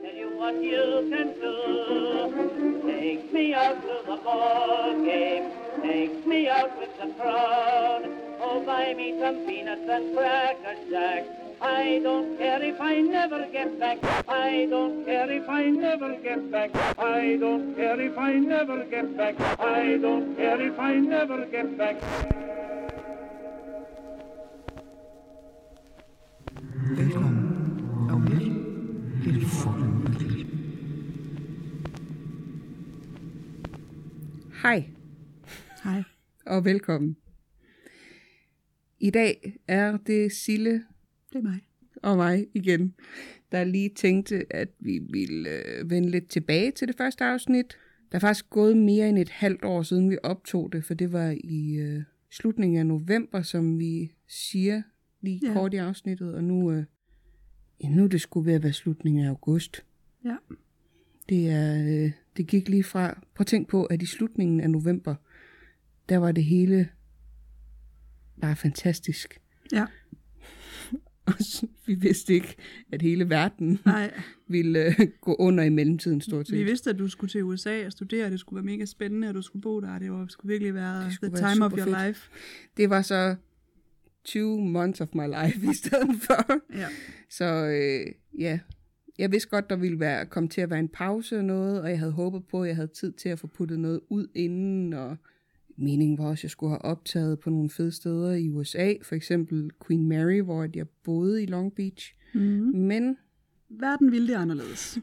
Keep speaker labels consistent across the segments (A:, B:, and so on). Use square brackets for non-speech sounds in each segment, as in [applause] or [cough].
A: what you can do. Take me out to the ball game. Take me out with the crowd. Oh, buy me some peanuts and cracker jack. I don't care if I never get back. I don't care if I never get back. I don't care if I never get back. I don't care if I never get back.
B: Velkommen og velkommen til Folkemødet.
C: Hej
B: Hej.
C: og velkommen. I dag er det Sille
B: Det er mig.
C: og mig igen, der lige tænkte, at vi ville øh, vende lidt tilbage til det første afsnit. Der er faktisk gået mere end et halvt år siden, vi optog det, for det var i øh, slutningen af november, som vi siger lige
B: Ja.
C: ja. kort i afsnittet, og nu, øh, ja, nu er det skulle ved at være slutningen af august.
B: Ja.
C: Det, er, øh, det gik lige fra, prøv at tænk på, at i slutningen af november, der var det hele bare fantastisk. [laughs]
B: Ja.
C: Mm. Og så- vi vidste ikke, at hele verden
B: Nej,
C: ville øh, gå under i mellemtiden stort set.
B: vi vidste, at du skulle til USA og studere. Det skulle være mega spændende, og du skulle bo der. Det var, skulle virkelig være
C: Det
B: skulle
C: skulle
B: the
C: være
B: time of
C: super
B: your
C: fedt.
B: life.
C: Det var så 20 months of my life i stedet for.
B: Ja.
C: Så øh, ja, jeg vidste godt, der ville være, komme til at være en pause og noget, og jeg havde håbet på, at jeg havde tid til at få puttet noget ud inden, og meningen var også, at jeg skulle have optaget på nogle fede steder i USA, for eksempel Queen Mary, hvor at jeg boede i Long Beach.
B: Mm-hmm.
C: Men
B: Verden ville det anderledes.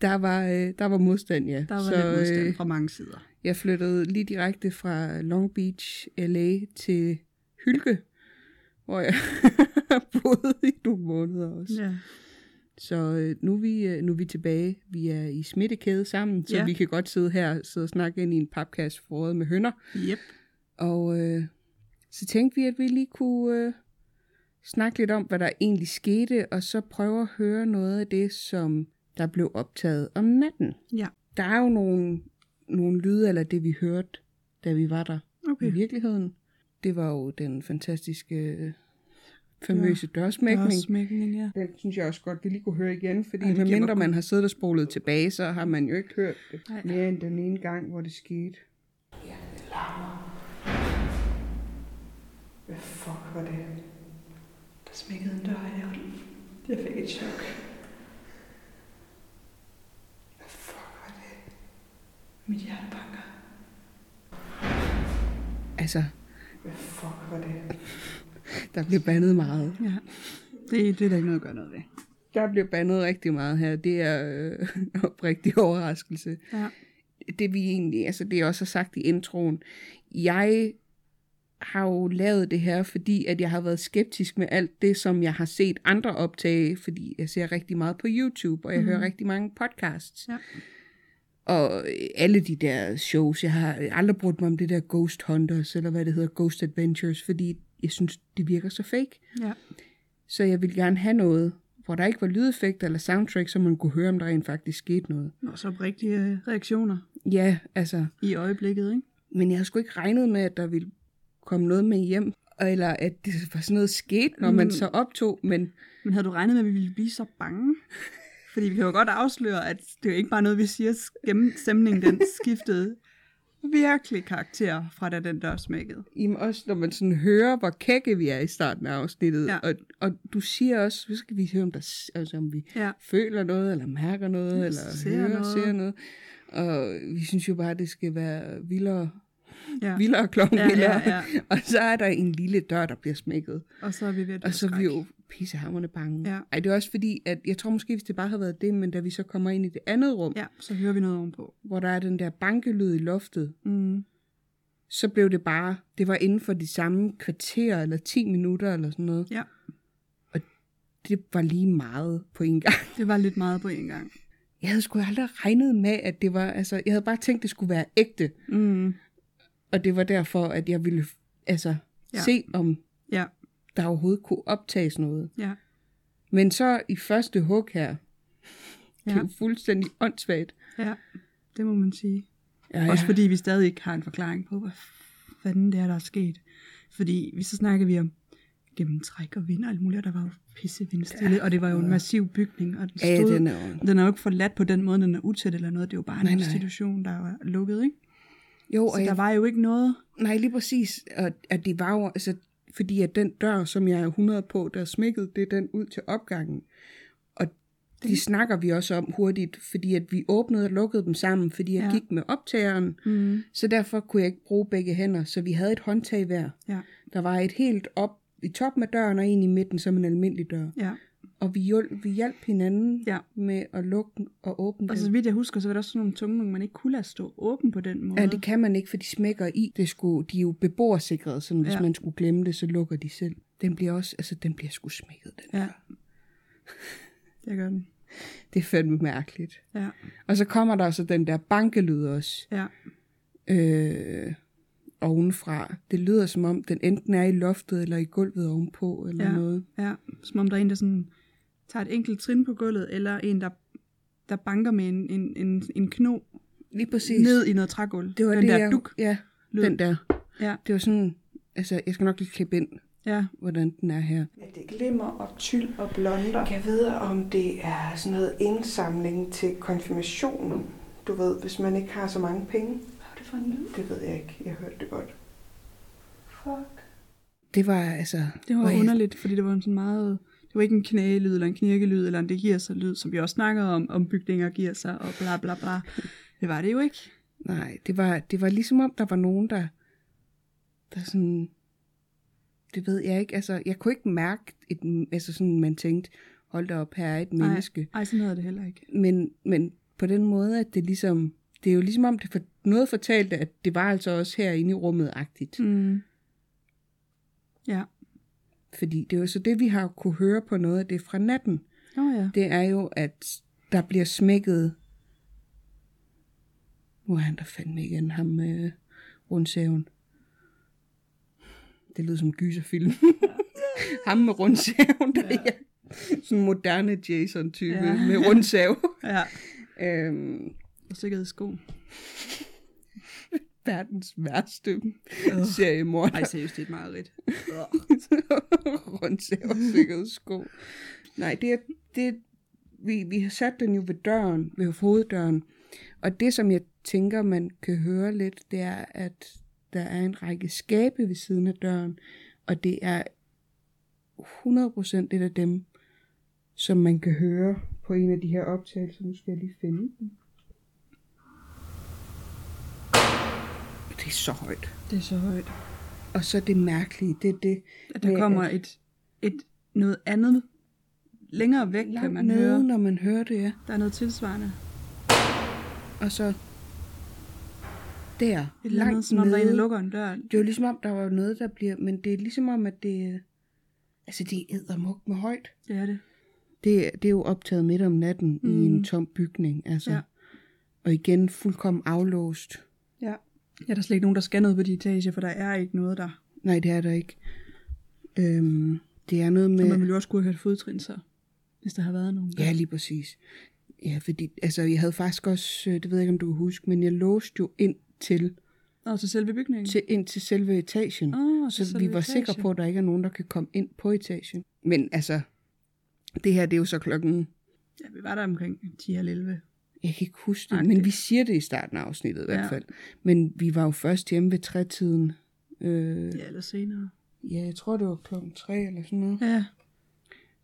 C: der var, øh, der var modstand, ja.
B: Der var
C: så,
B: så, lidt modstand
C: øh,
B: fra mange sider.
C: Jeg flyttede lige direkte fra Long Beach, LA til Hylke, hvor jeg [laughs] boede i nogle måneder også.
B: Ja.
C: Så øh, nu er, vi, øh, nu er vi tilbage. Vi er i smittekæde sammen, så
B: Ja.
C: ja. vi kan godt sidde her sidde og snakke ind i en papkasse foråret med hønder.
B: Yep.
C: Og øh, så tænkte vi, at vi lige kunne øh, snakke lidt om, hvad der egentlig skete, og så prøve at høre noget af det, som der blev optaget om natten.
B: Ja.
C: Der er jo nogle, nogle lyde, eller det vi hørte, da vi var der
B: Okay.
C: i virkeligheden. Det var jo den fantastiske, øh, famøse ja. dørsmækning.
B: Smækning, ja.
C: Den synes jeg også godt, vi lige kunne høre igen, fordi
B: Ej, det giver mig
C: medmindre
B: god-
C: man har siddet og spolet tilbage, så har man jo ikke hørt det
B: Nej.
C: mere end den ene gang, hvor det skete.
D: Hvad fuck var det? Der smækkede en dør i aften. Jeg fik et chok. Hvad fuck var det? Mit hjerte banker.
C: Altså,
D: Hvad fuck var det?
C: der blev bandet meget.
B: ja. Det, det er der ikke noget at gøre noget ved.
C: Der blev bandet rigtig meget her. Det er øh, [laughs] oprigtig overraskelse.
B: Ja.
C: Det vi egentlig, altså det jeg også har sagt i introen, jeg har jo lavet det her, fordi at jeg har været skeptisk med alt det, som jeg har set andre optage, fordi jeg ser rigtig meget på YouTube, og jeg
B: Mhm.
C: hører rigtig mange podcasts.
B: Ja.
C: Og alle de der shows, jeg har aldrig brugt mig om det der Ghost Hunters, eller hvad det hedder, Ghost Adventures, fordi jeg synes, det virker så fake.
B: ja.
C: Så jeg ville gerne have noget, hvor der ikke var lydeffekter eller soundtrack, så man kunne høre, om der rent faktisk skete noget.
B: Og så oprigtige øh, reaktioner
C: Ja, altså,
B: i øjeblikket, ikke?
C: men jeg havde sgu ikke regnet med, at der ville komme noget med hjem, eller at det var sådan noget skete, når man
B: Mm.
C: så optog, men
B: Men havde du regnet med, at vi ville blive så bange? [laughs] Fordi vi kan jo godt afsløre, at det er jo ikke bare noget, vi siger. Stem- Stemningen
C: [laughs]
B: den skiftede virkelig karakter fra da den dør smækkede.
C: Jamen også når man sådan hører, hvor kække vi er i starten af afsnittet,
B: Ja.
C: ja. og, og du siger også, så skal vi høre, om, der, s- altså, om vi
B: Ja.
C: føler noget, eller mærker noget,
B: Ja,
C: eller
B: ser
C: ser hører
B: noget.
C: noget. ser noget. Og vi synes jo bare, at det skal være vildere,
B: Ja.
C: ja. vildere klokken
B: Ja, ja,
C: vildere.
B: ja.
C: [laughs] Og så er der en lille dør, der bliver smækket.
B: Og så er vi ved at dø
C: Og så er vi
B: skræk.
C: jo pissehammerne bange.
B: Ja.
C: Ej, det er også fordi, at jeg tror måske, hvis det bare havde været det, men da vi så kommer ind i det andet rum,
B: Ja, så hører vi noget ovenpå.
C: hvor der er den der bankelyd i loftet,
B: Mm.
C: så blev det bare, det var inden for de samme kvarter, eller 10 minutter, eller sådan noget.
B: Ja.
C: Og det var lige meget på en gang. [laughs]
B: Det var lidt meget på en gang.
C: Jeg havde sgu aldrig regnet med, at det var, altså, jeg havde bare tænkt, det skulle være ægte.
B: Mm.
C: Og det var derfor, at jeg ville, altså,
B: Ja.
C: ja. se, om
B: Ja,
C: der overhovedet kunne optages noget.
B: ja,
C: Men så i første hug her, [laughs] det er
B: ja,
C: jo fuldstændig åndssvagt.
B: ja. Det må man sige.
C: Ja,
B: Også fordi vi stadig ikke har en forklaring på, hvad fanden det er, der er sket. Fordi vi så snakker vi om gennemtræk og vind og alt muligt, og der var jo pisse vindstille, og det var jo en massiv bygning, og den
C: Ja,
B: stod,
C: den er jo-
B: den er jo ikke forladt på den måde, den er utæt eller noget, det er jo bare en
C: Nej, nej.
B: institution, der var lukket, ikke?
C: Jo,
B: Så der var jo ikke noget,
C: Nej, lige præcis. Og, at det var jo, altså, fordi at den dør, som jeg er 100 på, der er smækket, det er den ud til opgangen. Og det de snakker vi også om hurtigt, fordi at vi åbnede og lukkede dem sammen, fordi jeg
B: Ja.
C: ja. gik med optageren.
B: Mhm.
C: Så derfor kunne jeg ikke bruge begge hænder, så vi havde et håndtag hver.
B: ja,
C: Der var et helt op i toppen af døren og en i midten som en almindelig dør.
B: ja.
C: Og vi hjalp, vi hjalp hinanden
B: Ja.
C: med at lukke og åbne
B: Og
C: dem.
B: så vidt jeg husker, så var der også sådan nogle tunge, nogle, man ikke kunne lade stå åben på den måde.
C: Ja, det kan man ikke, for de smækker i. Det skulle, de er jo beboersikrede, så hvis
B: Ja.
C: ja. man skulle glemme det, så lukker de selv. Den bliver også, altså den bliver sgu smækket, den.
B: Ja. Jeg gør den.
C: Det er fandme mærkeligt.
B: Ja,
C: Og så kommer der så den der bankelyd også,
B: ja,
C: øh, ovenfra. Det lyder som om, den enten er i loftet eller i gulvet ovenpå, eller
B: Ja.
C: ja. noget.
B: ja. Som om der er en, der sådan tager et enkelt trin på gulvet, eller en, der, der banker med en, en, en, en kno
C: Lige præcis.
B: ned i noget trægulv.
C: det var
B: den
C: det,
B: der
C: jeg,
B: duk.
C: Ja,
B: lyd.
C: den der.
B: Ja.
C: Det var sådan, altså jeg skal nok lige klippe ind,
B: Ja,
C: hvordan den er her.
E: Men det glimmer og tyld og blonder.
D: Jeg ved, om det er sådan noget indsamling til konfirmation. Du ved, hvis man ikke har så mange penge.
E: Hvad var det for en lyd?
D: Det ved jeg ikke. Jeg hørte det godt.
E: Fuck.
C: Det var altså...
B: det var
C: hvor jeg-
B: underligt, fordi det var en sådan meget... Det var ikke en knægelyd eller en knirkelyd eller en det giver sig lyd, som vi også snakkede om, om bygninger giver sig og bla bla
C: [laughs]
B: bla. Det var det jo ikke.
C: Nej, det var, det var ligesom om, der var nogen, der, der sådan, det ved jeg ikke, altså, jeg kunne ikke mærke, et, altså sådan, man tænkte, hold da op, her er et menneske.
B: Nej, sådan havde jeg det heller ikke.
C: Men, men på den måde, at det ligesom, det er jo ligesom om, det for, noget fortalte, at det var altså også herinde i rummet-agtigt. Mm.
B: Mm. Ja.
C: Fordi det er jo så det, vi har kunne høre på noget af det fra natten.
B: Nå oh, ja.
C: Det er jo, at der bliver smækket, nu er han der fandme igen, ham med øh, rundsaven. Det lyder som en [laughs] gyserfilm. ham med rundsaven, der ja. sådan en moderne Jason-type
B: Ja.
C: ja. med rundsav. [laughs]
B: Ja.
C: øhm,
B: Og sikkerhedssko.
C: verdens værste seriemord. [laughs]
B: Ej, seriøst, det er et mareridt.
C: rundsav og sikkerhedssko. Nej, det er, det er, vi, vi har sat den jo ved døren, ved hoveddøren. Og det, som jeg tænker, man kan høre lidt, det er, at der er en række skabe ved siden af døren, og det er 100% et af dem, som man kan høre på en af de her optagelser. Nu skal jeg lige finde den. Det er så højt.
B: Det er så højt.
C: Og så det mærkelige, det er det.
B: At der
C: med,
B: kommer et, et noget andet længere væk,
C: langt
B: kan man
C: nede,
B: høre.
C: når man hører det, ja.
B: Der er noget tilsvarende.
C: Og så der,
B: Et eller andet,
C: langt
B: som om der er en, der
C: nede.
B: lukker en dør.
C: Det er jo ligesom om, der var noget, der bliver... Men det er ligesom om, at det... øh, Altså, det er eddermuk med højt.
B: Det er det.
C: Det, det er jo optaget midt om natten mm. i
B: Mm.
C: en tom bygning, altså.
B: Ja.
C: Ja. Og igen fuldkommen aflåst.
B: Ja. Ja, der er slet ikke nogen, der skal ned på de etager, for der er ikke noget der.
C: Nej, det er der ikke. Øhm, det er noget
B: Og
C: med...
B: man ville jo også kunne have hørt fodtrin så, hvis der har været nogen.
C: Ja, lige præcis. Ja, fordi... Altså, jeg havde faktisk også... øh, Det ved jeg ikke, om du kan huske, men jeg låste jo ind til...
B: Og så selve bygningen.
C: til, ind til selve etagen.
B: Åh, til
C: så
B: selve
C: vi var sikre
B: etagen.
C: på, at der ikke er nogen, der kan komme ind på etagen. Men altså, det her, det er jo så klokken,
B: Ja, vi var der omkring 10 eller 11.
C: jeg kan ikke huske det,
B: Agtigt.
C: men vi siger det i starten af afsnittet i ja.
B: Ja.
C: hvert fald. Men vi var jo først hjemme ved trætiden. Øh,
B: Ja, eller senere.
C: ja, jeg tror, det var klokken tre eller sådan noget.
B: Ja.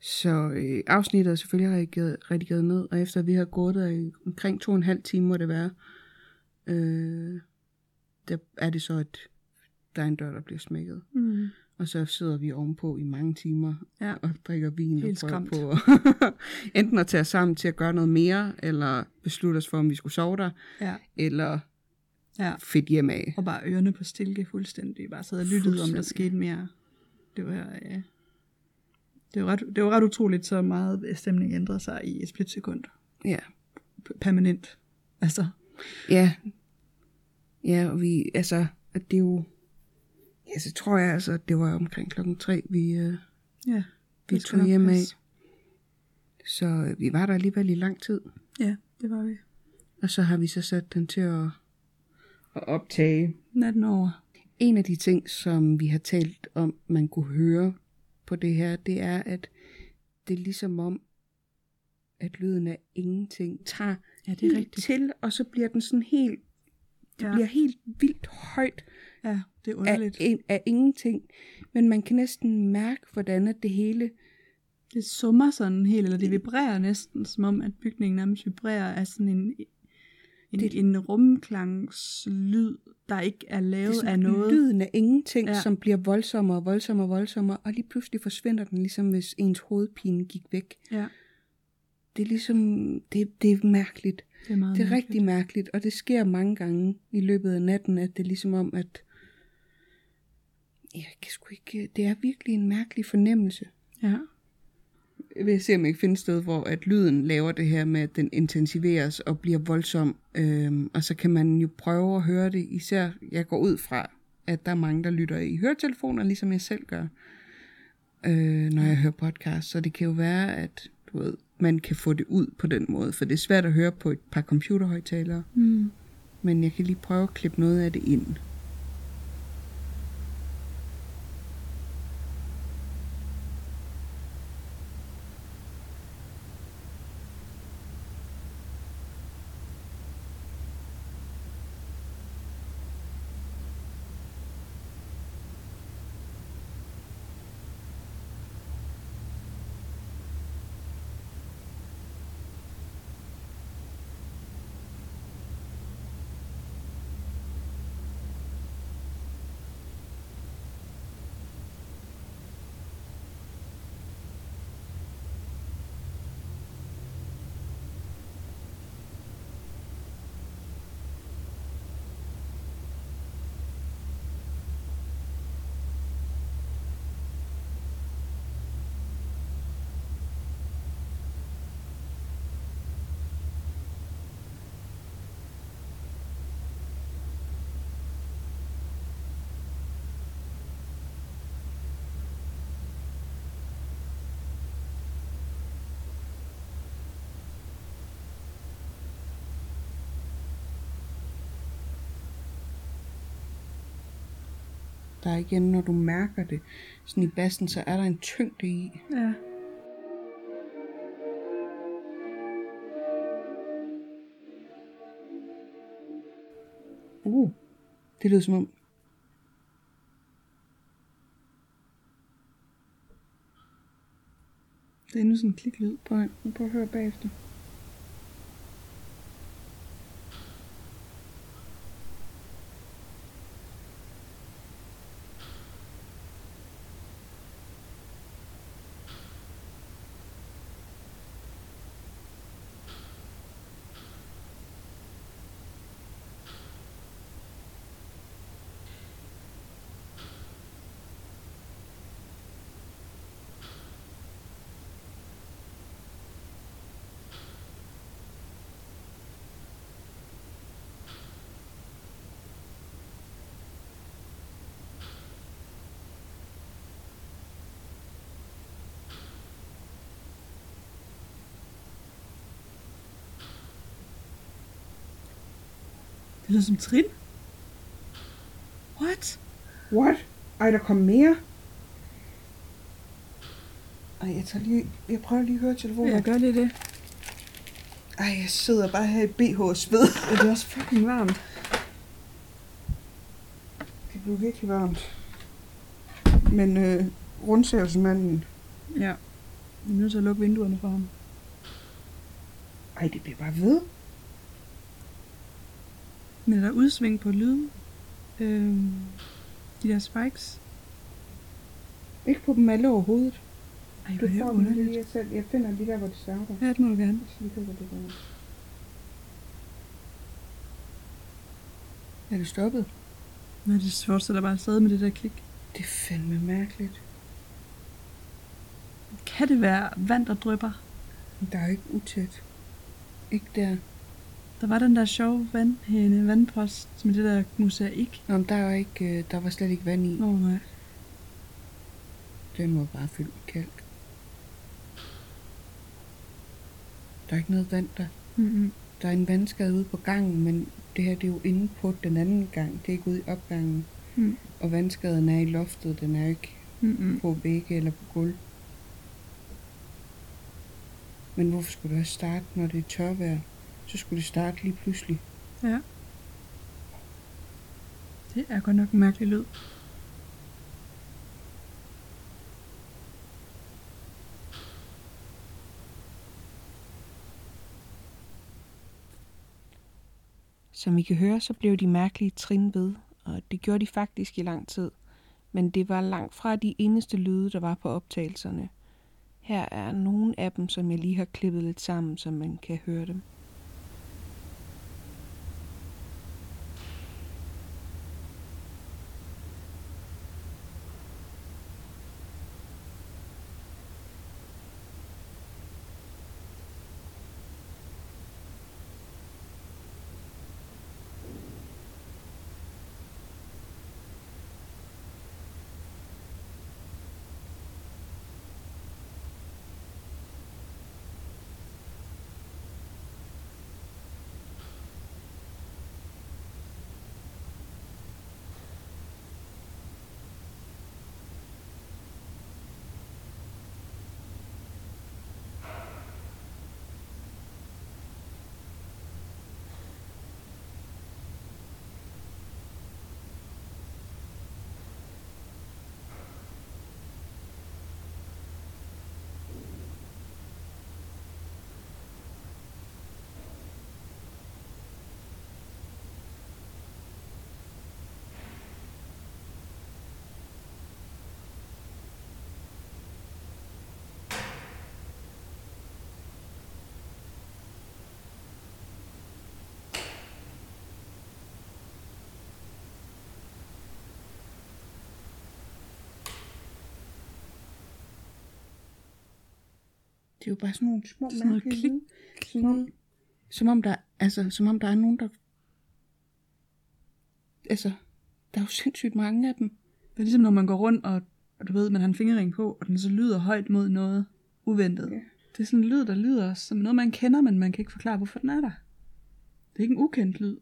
C: Så øh, afsnittet er selvfølgelig redigeret, redigeret ned, og efter vi har gået der i omkring to og en halv time, må det være, øh, der er det så, at der er en dør, der bliver smækket.
B: Mm.
C: Og så sidder vi ovenpå i mange timer
B: Ja.
C: og drikker vin
B: Helt
C: og prøver
B: skræmt.
C: på at- [laughs] enten at tage os sammen til at gøre noget mere, eller beslutte os for, om vi skulle sove der,
B: Ja.
C: eller
B: Ja.
C: fedt hjem af.
B: Og bare ørerne på stilke fuldstændig. Bare sad og lyttede, om der
C: Fuldstændig.
B: skete mere. Det var, ja. det, var ret, det var ret utroligt, så meget stemning ændrede sig i et splitsekund.
C: Ja.
B: P- Permanent. Altså,
C: Ja. Ja, og vi, altså, at det er jo, ja, så tror jeg altså, at det var omkring klokken tre, vi, øh,
B: ja.
C: vi
B: det skal
C: tog
B: nok
C: hjem af.
B: passe.
C: Så øh, vi var der alligevel i lang tid,
B: Ja, det var vi.
C: og så har vi så sat den til at, at optage
B: Natten over.
C: En af de ting, som vi har talt om, man kunne høre på det her, det er, at det er ligesom om, at lyden af ingenting tager
B: Ja, det er
C: helt
B: rigtigt.
C: til, og så bliver den sådan helt, det
B: Ja.
C: ja. bliver helt vildt højt
B: Ja, det er
C: af,
B: underligt.
C: en, af ingenting. Men man kan næsten mærke, hvordan at det hele
B: Det summer sådan helt, eller det vibrerer næsten, som om, at bygningen nærmest vibrerer af sådan en, en, det,
C: Det-
B: en rumklangslyd, der ikke er lavet
C: det er
B: er af
C: sådan
B: noget.
C: Ligesom lyden af ingenting,
B: Ja.
C: ja. som bliver voldsommere og voldsommere og voldsommere, og lige pludselig forsvinder den, ligesom hvis ens hovedpine gik væk.
B: Ja,
C: Det er ligesom, det, det er mærkeligt.
B: det er meget
C: Det er
B: mærkeligt.
C: rigtig mærkeligt, og det sker mange gange i løbet af natten, at det er ligesom om, at jeg kan sgu ikke, det er virkelig en mærkelig fornemmelse.
B: Ja.
C: Jeg vil se, om jeg kan finde et sted, hvor at lyden laver det her med, at den intensiveres og bliver voldsom, øhm, og så kan man jo prøve at høre det, især jeg går ud fra, at der er mange, der lytter i høretelefoner, ligesom jeg selv gør, øh, når jeg hører podcast, så det kan jo være, at du ved, man kan få det ud på den måde, for det er svært at høre på et par computerhøjtalere.
B: Mm.
C: Men jeg kan lige prøve at klippe noget af det ind. Der er igen, når du mærker det sådan i bassen, så er der en tyngde i.
B: Ja.
C: Uh, det lyder som om...
B: Det er endnu sådan en kliklyd.
C: Prøv, at- prøv at høre bagefter.
B: Det lyder som trin. What?
D: What? Ej, der kom mere?
C: Ej, jeg, tager lige, jeg prøver lige at høre telefonen.
B: Jeg gør lige det.
D: Ej, jeg sidder bare her i BH og sved.
B: Ja, det er også fucking varmt.
D: Det blev virkelig varmt. Men øh, rundsavsmanden,
B: Ja. Vi er nødt til at lukke vinduerne for ham.
D: ej, det bliver bare ved.
B: Men er der udsving på lyden? Øhm, de der spikes?
C: Ikke på dem alle overhovedet.
B: Ej,
C: Du
B: hvor er
C: får
B: det
C: dem lige
B: underligt.
C: jeg selv. Jeg finder lige der, hvor det starter.
B: Ja, det må du gerne.
C: Så lige hører det der. Er det stoppet?
B: Men det fortsætter bare afsted med det der klik.
C: Det er fandme mærkeligt.
B: Kan det være vand, der drypper?
C: Men Der er jo ikke utæt. Ikke der.
B: Der var den der sjove vandhæne, vandpost med det der mosaik.
C: Nå, men der, er jo ikke, øh, der var slet ikke vand i.
B: Åh oh, nej.
C: Den var bare fyldt med kalk. Der er ikke noget vand der.
B: Mm-hmm.
C: Der er en vandskade ude på gangen, men det her det er jo inde på den anden gang. Det er ikke ude i opgangen.
F: Hmm.
B: Mm.
C: Og vandskaden er i loftet. Den er jo ikke
B: Mm-mm.
C: på vægge eller på gulv. Men hvorfor skulle det også starte, når det er tørvejr? Så skulle det starte lige pludselig.
B: Det er godt nok en mærkelig lyd.
F: Som I kan høre, så blev de mærkelige trin ved, og det gjorde de faktisk i lang tid. Men det var langt fra de eneste lyde, der var på optagelserne. Her er nogle af dem, som jeg lige har klippet lidt sammen, så man kan høre dem.
C: Det er jo bare sådan nogle små
B: Sådan noget
C: mærkelige
B: klik,
C: lyde. Sådan noget- Som om, der, altså, som om der er nogen, der... Altså, der er jo [laughs] sindssygt mange af dem.
B: Det er ligesom, når man går rundt, og, og du ved, man har en fingering på, og den så lyder højt mod noget uventet.
C: Ja.
B: Det er sådan en lyd, der lyder som noget, man kender, men man kan ikke forklare, hvorfor den er der. Det er ikke en ukendt lyd.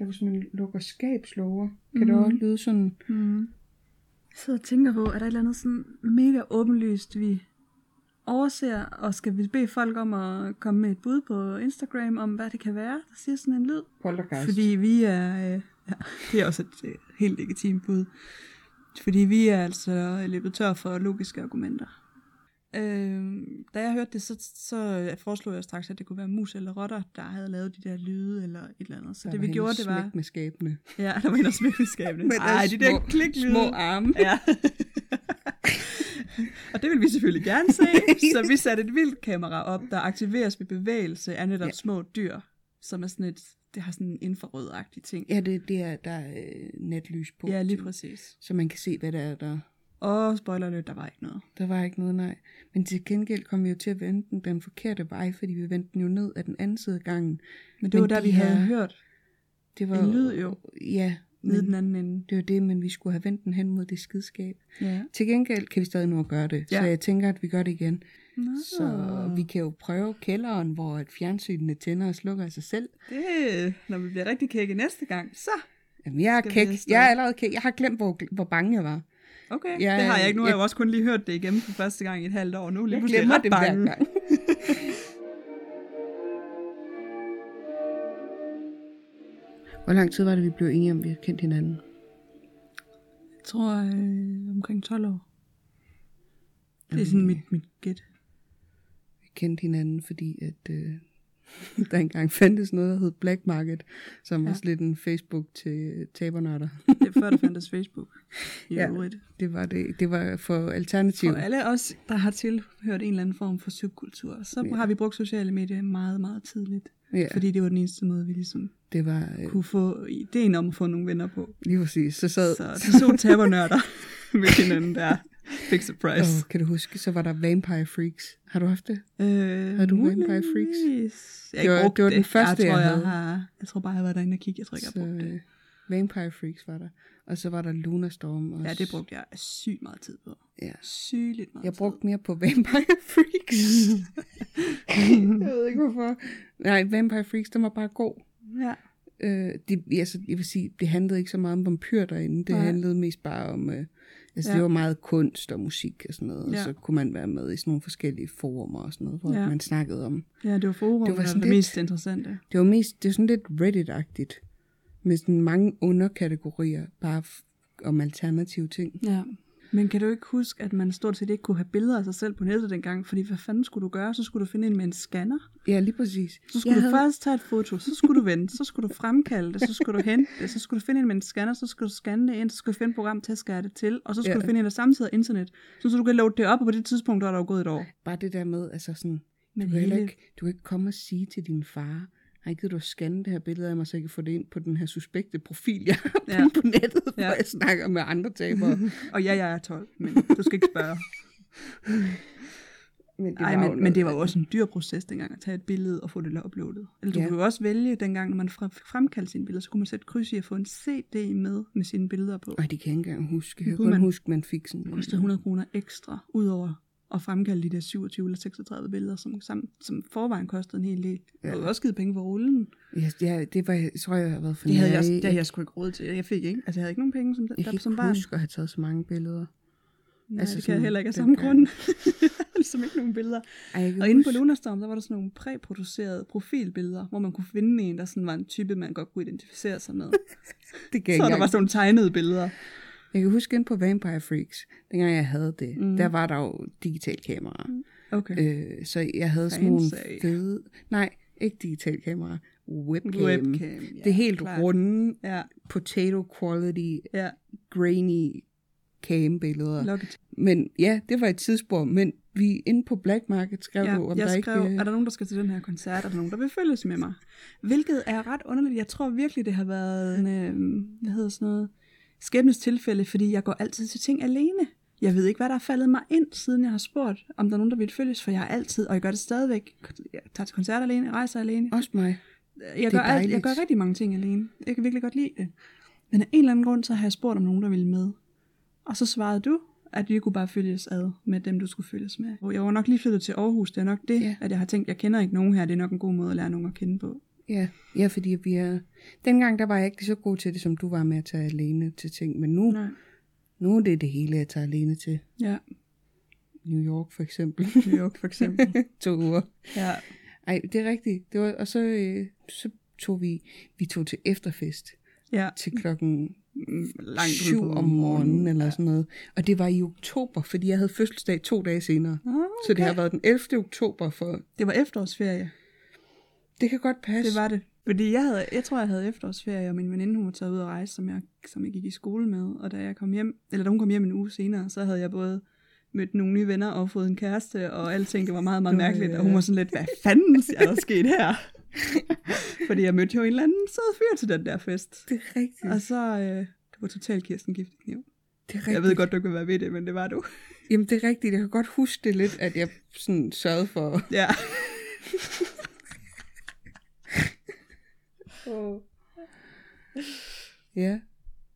C: Ja, hvis man lukker skabslåger, kan mm. det også lyde sådan...
B: Mm. Jeg sidder og tænker på, er der et eller andet sådan mega åbenlyst, vi overser, og skal vi bede folk om at komme med et bud på Instagram om, hvad det kan være, der siger sådan en lyd?
C: Poltergeist.
B: Fordi vi er... Øh, ja, [laughs] det er også et øh, helt legitimt bud. Fordi vi er altså løbet tør for logiske argumenter. Øh, da jeg hørte det, så, så foreslog jeg straks, at det kunne være mus eller rotter, der havde lavet de der lyde eller et eller andet. Så
C: Der
B: det
C: var
B: vi
C: hende
B: gjorde, det var... altså,
C: smæk med skabene.
B: Ja, der var en, der smækkede
C: [laughs]
B: skabene.
C: Med
B: Ej, de der
C: små-
B: kliklyde.
C: Små arme.
B: Ja. [laughs] og det vil vi selvfølgelig gerne se, så vi satte et vildt kamera op, der aktiveres ved bevægelse af netop
C: Ja.
B: ja. små dyr, som er sådan et, det har sådan en infrarød-agtig ting.
C: Ja, det, det er, der er øh, natlys på.
B: Ja, lige præcis.
C: Så man kan se, hvad der er der.
B: Og spoiler alert, der var ikke noget.
C: Der var ikke noget nej. Men til gengæld kom vi jo til at vente den, den forkerte vej, fordi vi vendte den jo ned af den anden side af gangen.
B: Men det Men var der,
C: de
B: vi havde
C: her-
B: hørt
C: Det var
B: en lyd jo,
C: Ja,
B: nede
C: men
B: den anden ende.
C: det var det, men vi skulle have vendt den hen mod det skidskab.
B: Ja.
C: Til gengæld kan vi stadig nå at gøre det, ja.
B: Ja.
C: så jeg tænker, at vi gør det igen.
B: Nå,
C: Så vi kan jo prøve kælderen, hvor et fjernsynene tænder og slukker af sig selv.
B: Det, når vi bliver rigtig kække næste gang, så...
C: Jamen, jeg er
B: Skal vi
C: kæk.
B: afsted?
C: Jeg er allerede kæk. Jeg har glemt, hvor, hvor bange jeg var.
B: Okay,
C: Ja,
B: ja, det har jeg ikke. Nu har
C: jeg-
B: jeg jo også kun lige hørt det igen for første gang i et halvt år. Nu er lige
C: Jeg
B: pludselig
C: glemmer
B: ret
C: det
B: bange.
C: hver
B: [laughs]
C: gang. Hvor lang tid var det, vi blev enige om, at vi har kendt hinanden?
B: Jeg tror øh, omkring 12 år. Det er sådan mit, mit gæt.
C: Vi kendte hinanden, fordi at, øh, [laughs] der engang fandtes noget, der hed Black Market, som ja. var lidt en Facebook til tabernørder.
B: Det er før, der fandtes Facebook. I
C: Ja.
B: ja. øvrigt.
C: [laughs] Det var, det, det var for alternativ.
B: For alle os, der har tilhørt en eller anden form for subkultur, så
C: Ja.
B: ja. har vi brugt sociale medier meget, meget tidligt.
C: Ja,
B: Ja. Fordi det var den eneste måde, vi ligesom
C: det var øh,
B: kunne få ideen om at få nogle venner på.
C: lige præcis. Så sad...
B: Så de to tabernørder [laughs] mødte hinanden der. Big surprise.
C: Åh, kan du huske, så var der Vampire Freaks. Har du haft det?
B: Oh. Øh,
C: Havde du Vampire Freaks?
B: muligvis. Jeg har ikke
C: Det var-
B: brugt
C: det var den første,
B: jeg tror,
C: jeg
B: jeg,
C: havde.
B: har, jeg tror bare, jeg var derinde og kigge. Jeg tror ikke, jeg
C: så,
B: har brugt det.
C: øh, Vampire Freaks var der. Og så var der Luna Storm også.
B: Ja, det brugte jeg sygt meget tid på.
C: Ja.
B: Sygeligt meget
C: Jeg
B: tid.
C: brugte mere på Vampire
B: [laughs]
C: Freaks. jeg ved ikke hvorfor. Nej, Vampire Freaks, den var bare god.
B: Ja.
C: Øh, det, altså, jeg vil sige, det handlede ikke så meget om vampyr derinde. Det
B: Nej.
C: handlede mest bare om øh, Altså,
B: Ja.
C: ja. det var meget kunst og musik og sådan noget, ja.
B: Ja.
C: og så kunne man være med i sådan nogle forskellige forumer og sådan noget, hvor
B: Ja.
C: ja. man snakkede om.
B: Ja, det var forum,
C: Det var
B: der var
C: sådan
B: det
C: lidt-
B: mest interessante.
C: Det var mest, det var sådan lidt Reddit-agtigt, med sådan mange underkategorier, bare f- om alternative ting.
B: Ja. Men kan du ikke huske, at man stort set ikke kunne have billeder af sig selv på nettet dengang? Fordi hvad fanden skulle du gøre? Så skulle du finde en med en scanner.
C: Ja, lige præcis.
B: Så skulle
C: Jeg
B: du først tage et foto, så skulle du vente, så skulle du fremkalde det, så skulle du hente det, så skulle du finde en med en scanner, så skulle du scanne det ind, så skulle du finde et program til at skære det til, og så skulle
C: Ja.
B: du finde en, der samtidig har internet, så, så du kan loade det op, og på det tidspunkt der er der jo gået et år.
C: Bare det der med, altså sådan,
B: Men
C: du kan, heller
B: hele-
C: ikke, du kan ikke komme og sige til din far, har ikke givet du at scanne det her billede af mig, så jeg kan få det ind på den her suspekte profil, jeg har
B: Ja.
C: ja. på nettet, hvor
B: Ja.
C: ja. jeg snakker med andre
B: [laughs]
C: tabere.
B: Og ja, jeg er 12, men du skal ikke
C: [laughs]
B: spørge.
C: men
B: Nej,
C: jo
B: men, men
C: noget
B: det var jo
C: andet.
B: også en dyr proces dengang at tage et billede og få det uploadet. Eller du ja.
C: Ja.
B: kunne jo også vælge dengang, når man fre- fremkaldte sine billeder, så kunne man sætte kryds i at få en CD med med sine billeder på.
C: Ej, det kan jeg ikke engang huske. Jeg kan
B: Gud,
C: kun
B: man-
C: huske, man fik sådan
B: Det kostede 100 kroner ekstra, udover at fremkalde de der 27 eller 36 billeder, som, sammen, som forvejen kostede en hel del. Ja. Jeg havde også givet penge for rullen.
C: Ja, ja, det var, jeg tror jeg, har været for
B: Det havde jeg,
C: nærig.
B: det havde jeg sgu ikke råd til. Jeg fik ikke. Altså, jeg havde ikke nogen penge som,
C: jeg
B: der,
C: kan ikke
B: som barn.
C: huske at have taget så mange billeder.
B: Nej, altså,
C: altså
B: det kan jeg
C: sådan
B: heller ikke af samme
C: dengang.
B: grund. [laughs] ligesom ikke nogen billeder.
C: Ej, jeg kan
B: Og inde på
C: huske-
B: Lunarstorm, der var der sådan nogle præproducerede profilbilleder, hvor man kunne finde en, der sådan var en type, man godt kunne identificere sig med.
C: det kan jeg,
B: så
C: ikke
B: der var
C: engang-
B: sådan nogle tegnede billeder.
C: jeg kan huske ind på Vampire Freaks, dengang jeg havde det, mm. der var der jo digital kamera. Mm.
B: Okay. Øh,
C: Øh, så jeg havde sådan nogle
B: Fancy.
C: fede... Nej, ikke digital kamera. Webcam.
B: Webcam, ja,
C: det helt
B: klart.
C: runde,
B: ja,
C: potato quality,
B: ja.
C: grainy cam billeder.
B: Lucky
C: Men ja, det var et tidsspur, men vi inde på Black Market skrev
B: Ja,
C: du, om
B: jeg
C: der
B: skrev,
C: ikke... øh,
B: er der nogen, der skal til den her koncert? Er der nogen, der vil følges med mig? Hvilket er ret underligt. Jeg tror virkelig, det har været en, øh, hvad hedder sådan noget, skæbnes tilfælde, fordi jeg går altid til ting alene. Jeg ved ikke, hvad der er faldet mig ind, siden jeg har spurgt, om der er nogen, der vil følges, for jeg er altid, og jeg gør det stadigvæk. Jeg tager til koncert alene, rejser alene.
C: Også mig.
B: Jeg
C: det
B: gør,
C: er
B: alt, jeg
C: dejligt.
B: gør rigtig mange ting alene. Jeg kan virkelig godt lide det. Men af en eller anden grund, så har jeg spurgt om nogen, der ville med. Og så svarede du, at vi kunne bare følges ad med dem, du skulle følges med. Og Jeg var nok lige flyttet til Aarhus. Det er nok det,
C: Ja.
B: at jeg har tænkt, jeg kender ikke nogen her. Det er nok en god måde at lære nogen at kende på.
C: Ja, ja fordi vi er... Dengang der var jeg ikke lige så god til det, som du var med at tage alene til ting, men nu,
B: Nej.
C: nu er det det hele, jeg tager alene til.
B: Ja,
C: New York for eksempel. [laughs]
B: New York for eksempel.
C: to uger.
B: [laughs] ja.
C: Ej, det er rigtigt. Det var, og så, øh, så tog vi, vi tog til efterfest
B: ja.
C: til klokken
B: Langt ude
C: 7
B: på
C: om morgenen eller sådan noget. Og det var i oktober, fordi jeg havde fødselsdag to dage senere.
B: Ah, okay.
C: Så det har været den 11. oktober for...
B: Det var efterårsferie.
C: Det kan godt passe.
B: Det var det. Fordi jeg, havde, jeg tror, jeg havde efterårsferie, og min veninde, hun var taget ud og rejse, som jeg, som jeg gik i skole med. Og da, jeg kom hjem, eller da hun kom hjem en uge senere, så havde jeg både mødt nogle nye venner og fået en kæreste, og alting, det var meget, meget mærkeligt. Og hun var sådan lidt, hvad fanden er der sket her? [laughs] Fordi jeg mødte jo en eller anden sød fyr til den der fest.
C: det er rigtigt.
B: Og så, øh, det var totalt Kirsten Giftekniv.
C: det er rigtigt.
B: Jeg ved godt, du ikke vil være ved det, men det var du. [laughs]
C: Jamen, det er rigtigt. Jeg kan godt huske det lidt, at jeg sådan sørgede for...
B: Ja.
C: Ja.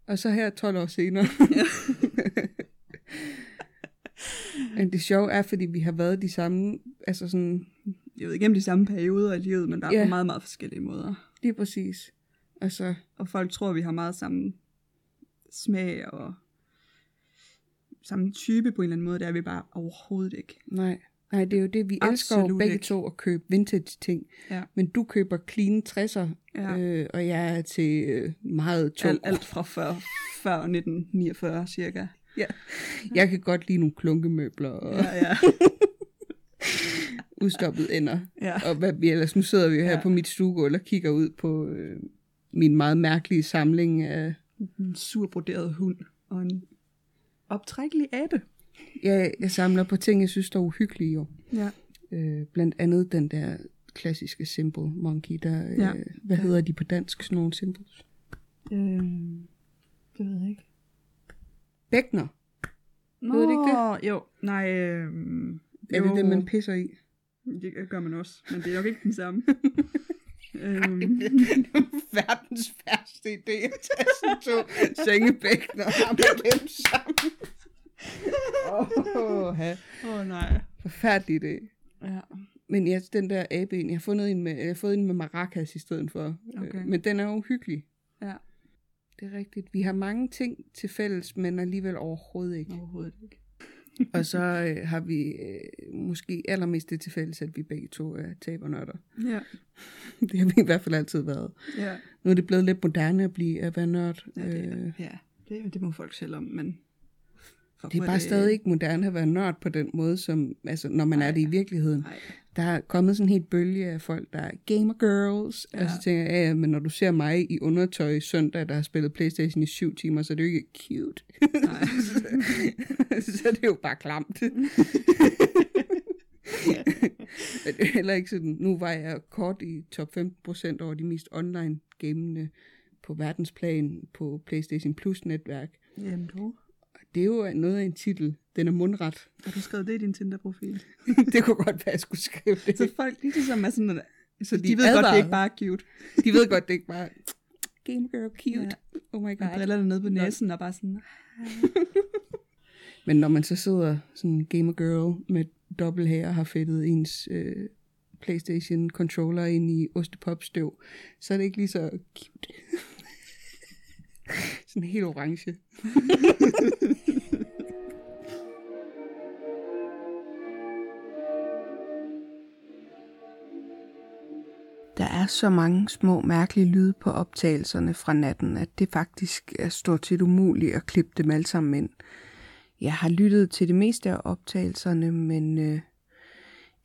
C: Og så her 12 år
B: [laughs]
C: senere. Men det sjove er, fordi vi har været de samme, altså sådan,
B: Jeg ved igennem de samme perioder i livet, men der er
C: Ja.
B: på meget, meget forskellige måder.
C: lige præcis. Altså,
B: og folk tror, vi har meget samme smag og samme type på en eller anden måde. Det er vi bare overhovedet ikke.
C: Nej, nej, det er jo det, vi elsker jo
B: Absolut
C: begge
B: ikke.
C: to at købe vintage ting.
B: Ja.
C: Men du køber clean 60'er,
B: Ja.
C: øh, og jeg er til øh, meget tung.
B: Alt, alt fra før, før 1949 cirka.
C: Ja. Jeg kan godt lide nogle klunkemøbler og ja.
B: Ja, ja.
C: udstoppet ender.
B: [laughs] Ja.
C: Og hvad vi ellers, nu sidder vi jo her ja. på mit stuegulv og kigger ud på øh, min meget mærkelige samling af...
B: En surbroderet hund og en optrækkelig abe.
C: Ja, jeg samler på ting, jeg synes der er uhyggelige jo.
B: Ja.
C: Øh, blandt andet den der klassiske symbol monkey, der... Øh,
B: Ja.
C: ja. Hvad hedder de på dansk, sådan nogle symbols?
B: Øhm, det ved jeg ikke.
C: Bækner.
B: Nå,
C: Ved du ikke
B: det? jo. Nej, øhm,
C: Er det det, man pisser [laughs] i?
B: Det gør man også, men det er nok ikke den [laughs] samme. øhm,
C: verdens værste idé at tage sådan to sengebækkener og hamre dem sammen. Åh, ja.
B: åh oh, nej.
C: Forfærdelig idé.
B: Ja.
C: Men ja, den der abe, jeg har fundet en med, jeg har fået en med maracas i stedet for.
B: Okay.
C: Øh, Men den er uhyggelig.
B: Ja.
G: Det er rigtigt. Vi har mange ting til fælles, men alligevel overhovedet ikke.
B: Overhovedet ikke.
G: Og så øh, har vi øh, måske allermest det til fælles, at vi begge to er tabernørder. [laughs]
B: Ja,
G: Det har vi i hvert fald altid været.
B: ja.
G: Nu er det blevet lidt moderne at blive at være nørd.
B: Ja, det, er-
G: Øh,
B: ja. Det, det må folk selv om, men... Øh, Fuck,
G: det
B: hvor
G: er bare stadig ikke moderne at være nørd på den måde, som, altså, når man er det i virkeligheden.
B: Nej.
G: Der er kommet sådan en helt bølge af folk, der er gamer girls. Ja. Og så tænker jeg, ja, ja, men når du ser mig i undertøj søndag, der har spillet Playstation i syv timer, så er det jo ikke cute.
B: Nej.
G: [laughs] så er det jo bare
B: [laughs]
G: klamt. Men det er heller ikke sådan, nu var jeg kort i top 15% over de mest online gamende på verdensplan på Playstation Plus-netværk.
B: Jamen du,
G: Det er jo noget af en titel. Den er mundret. [laughs]
B: har du skrevet det i din Tinder-profil?
G: det kunne godt være, at jeg skulle skrive det.
B: Så folk lige ligesom er sådan... Så de, de
G: de
B: ved advarer. godt, det
G: advarer.
B: er ikke bare er cute.
G: De ved godt, det er ikke bare Game Girl cute. Ja. Oh my
B: Med
G: god.
B: brillerne nede på næsen og bare sådan...
G: Men når man så sidder sådan Game Girl med dobbelt her og har fedtet ens øh, Playstation controller ind i ostepopstøv, så er det ikke lige så cute. [laughs] sådan helt orange.
C: [laughs] Der er så mange små mærkelige lyde på optagelserne fra natten, at det faktisk er stort set umuligt at klippe dem alle sammen ind. Jeg har lyttet til det meste af optagelserne, men øh,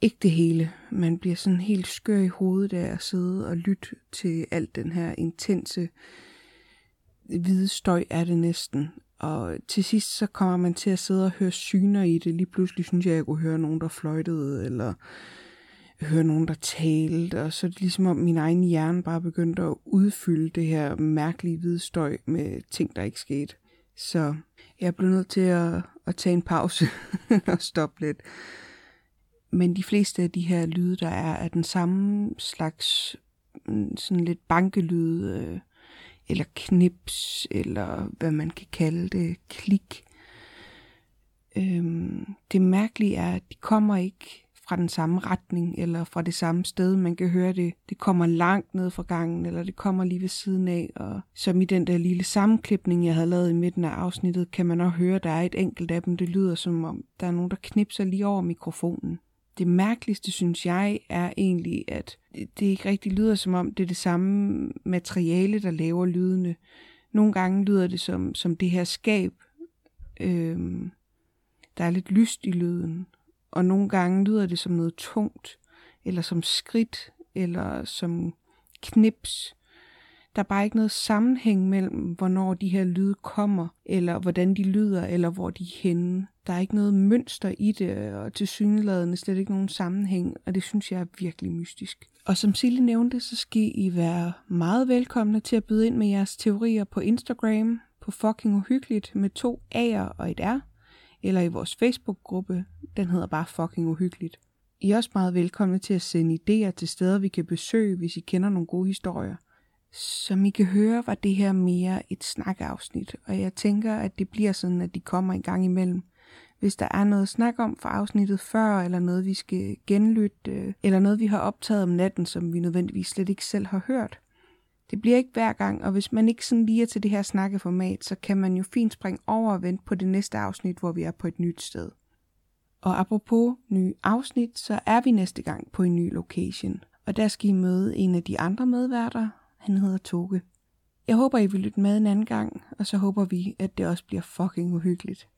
C: ikke det hele. Man bliver sådan helt skør i hovedet af at sidde og lytte til alt den her intense hvide støj er det næsten. Og til sidst så kommer man til at sidde og høre syner i det. Lige pludselig synes jeg, at jeg kunne høre nogen, der fløjtede, eller høre nogen, der talte, og så er det ligesom om min egen hjerne bare begyndte at udfylde det her mærkelige hvide støj med ting, der ikke skete. Så jeg blev nødt til at, at tage en pause [laughs] og stoppe lidt. Men de fleste af de her lyde, der er, er den samme slags mm, sådan lidt bankelyde, øh, eller knips, eller hvad man kan kalde det, klik. Øhm, det mærkelige er, at de kommer ikke fra den samme retning eller fra det samme sted. Man kan høre det. Det kommer langt ned fra gangen, eller det kommer lige ved siden af. Og som i den der lille sammenklipning, jeg havde lavet i midten af afsnittet, kan man også høre, at der er et enkelt af dem. Det lyder som om, der er nogen, der knipser lige over mikrofonen. Det mærkeligste, synes jeg, er egentlig, at det det ikke rigtig lyder som om, det er det samme materiale, der laver lydene. Nogle gange lyder det som, som det her skab, øhm, der er lidt lyst i lyden, og nogle gange lyder det som noget tungt, eller som skridt, eller som knips. Der er bare ikke noget sammenhæng mellem, hvornår de her lyde kommer, eller hvordan de lyder, eller hvor de er henne. Der er ikke noget mønster i det, og til syneladende slet ikke nogen sammenhæng, og det synes jeg er virkelig mystisk. Og som Sille nævnte, så skal I være meget velkomne til at byde ind med jeres teorier på Instagram, på fucking uhyggeligt med to A'er og et R eller i vores Facebook-gruppe. Den hedder bare fucking uhyggeligt. I er også meget velkomne til at sende idéer til steder, vi kan besøge, hvis I kender nogle gode historier. Som I kan høre, var det her mere et snakafsnit, og jeg tænker, at det bliver sådan, at de kommer en gang imellem. Hvis der er noget snak om fra afsnittet før, eller noget vi skal genlytte, øh, eller noget vi har optaget om natten, som vi nødvendigvis slet ikke selv har hørt, det bliver ikke hver gang, og hvis man ikke sådan lige er til det her snakkeformat, så kan man jo fint springe over og vente på det næste afsnit, hvor vi er på et nyt sted. Og apropos nye afsnit, så er vi næste gang på en ny location, og der skal I møde en af de andre medværter. Han hedder Toge. Jeg håber, I vil lytte med en anden gang, og så håber vi, at det også bliver fucking uhyggeligt.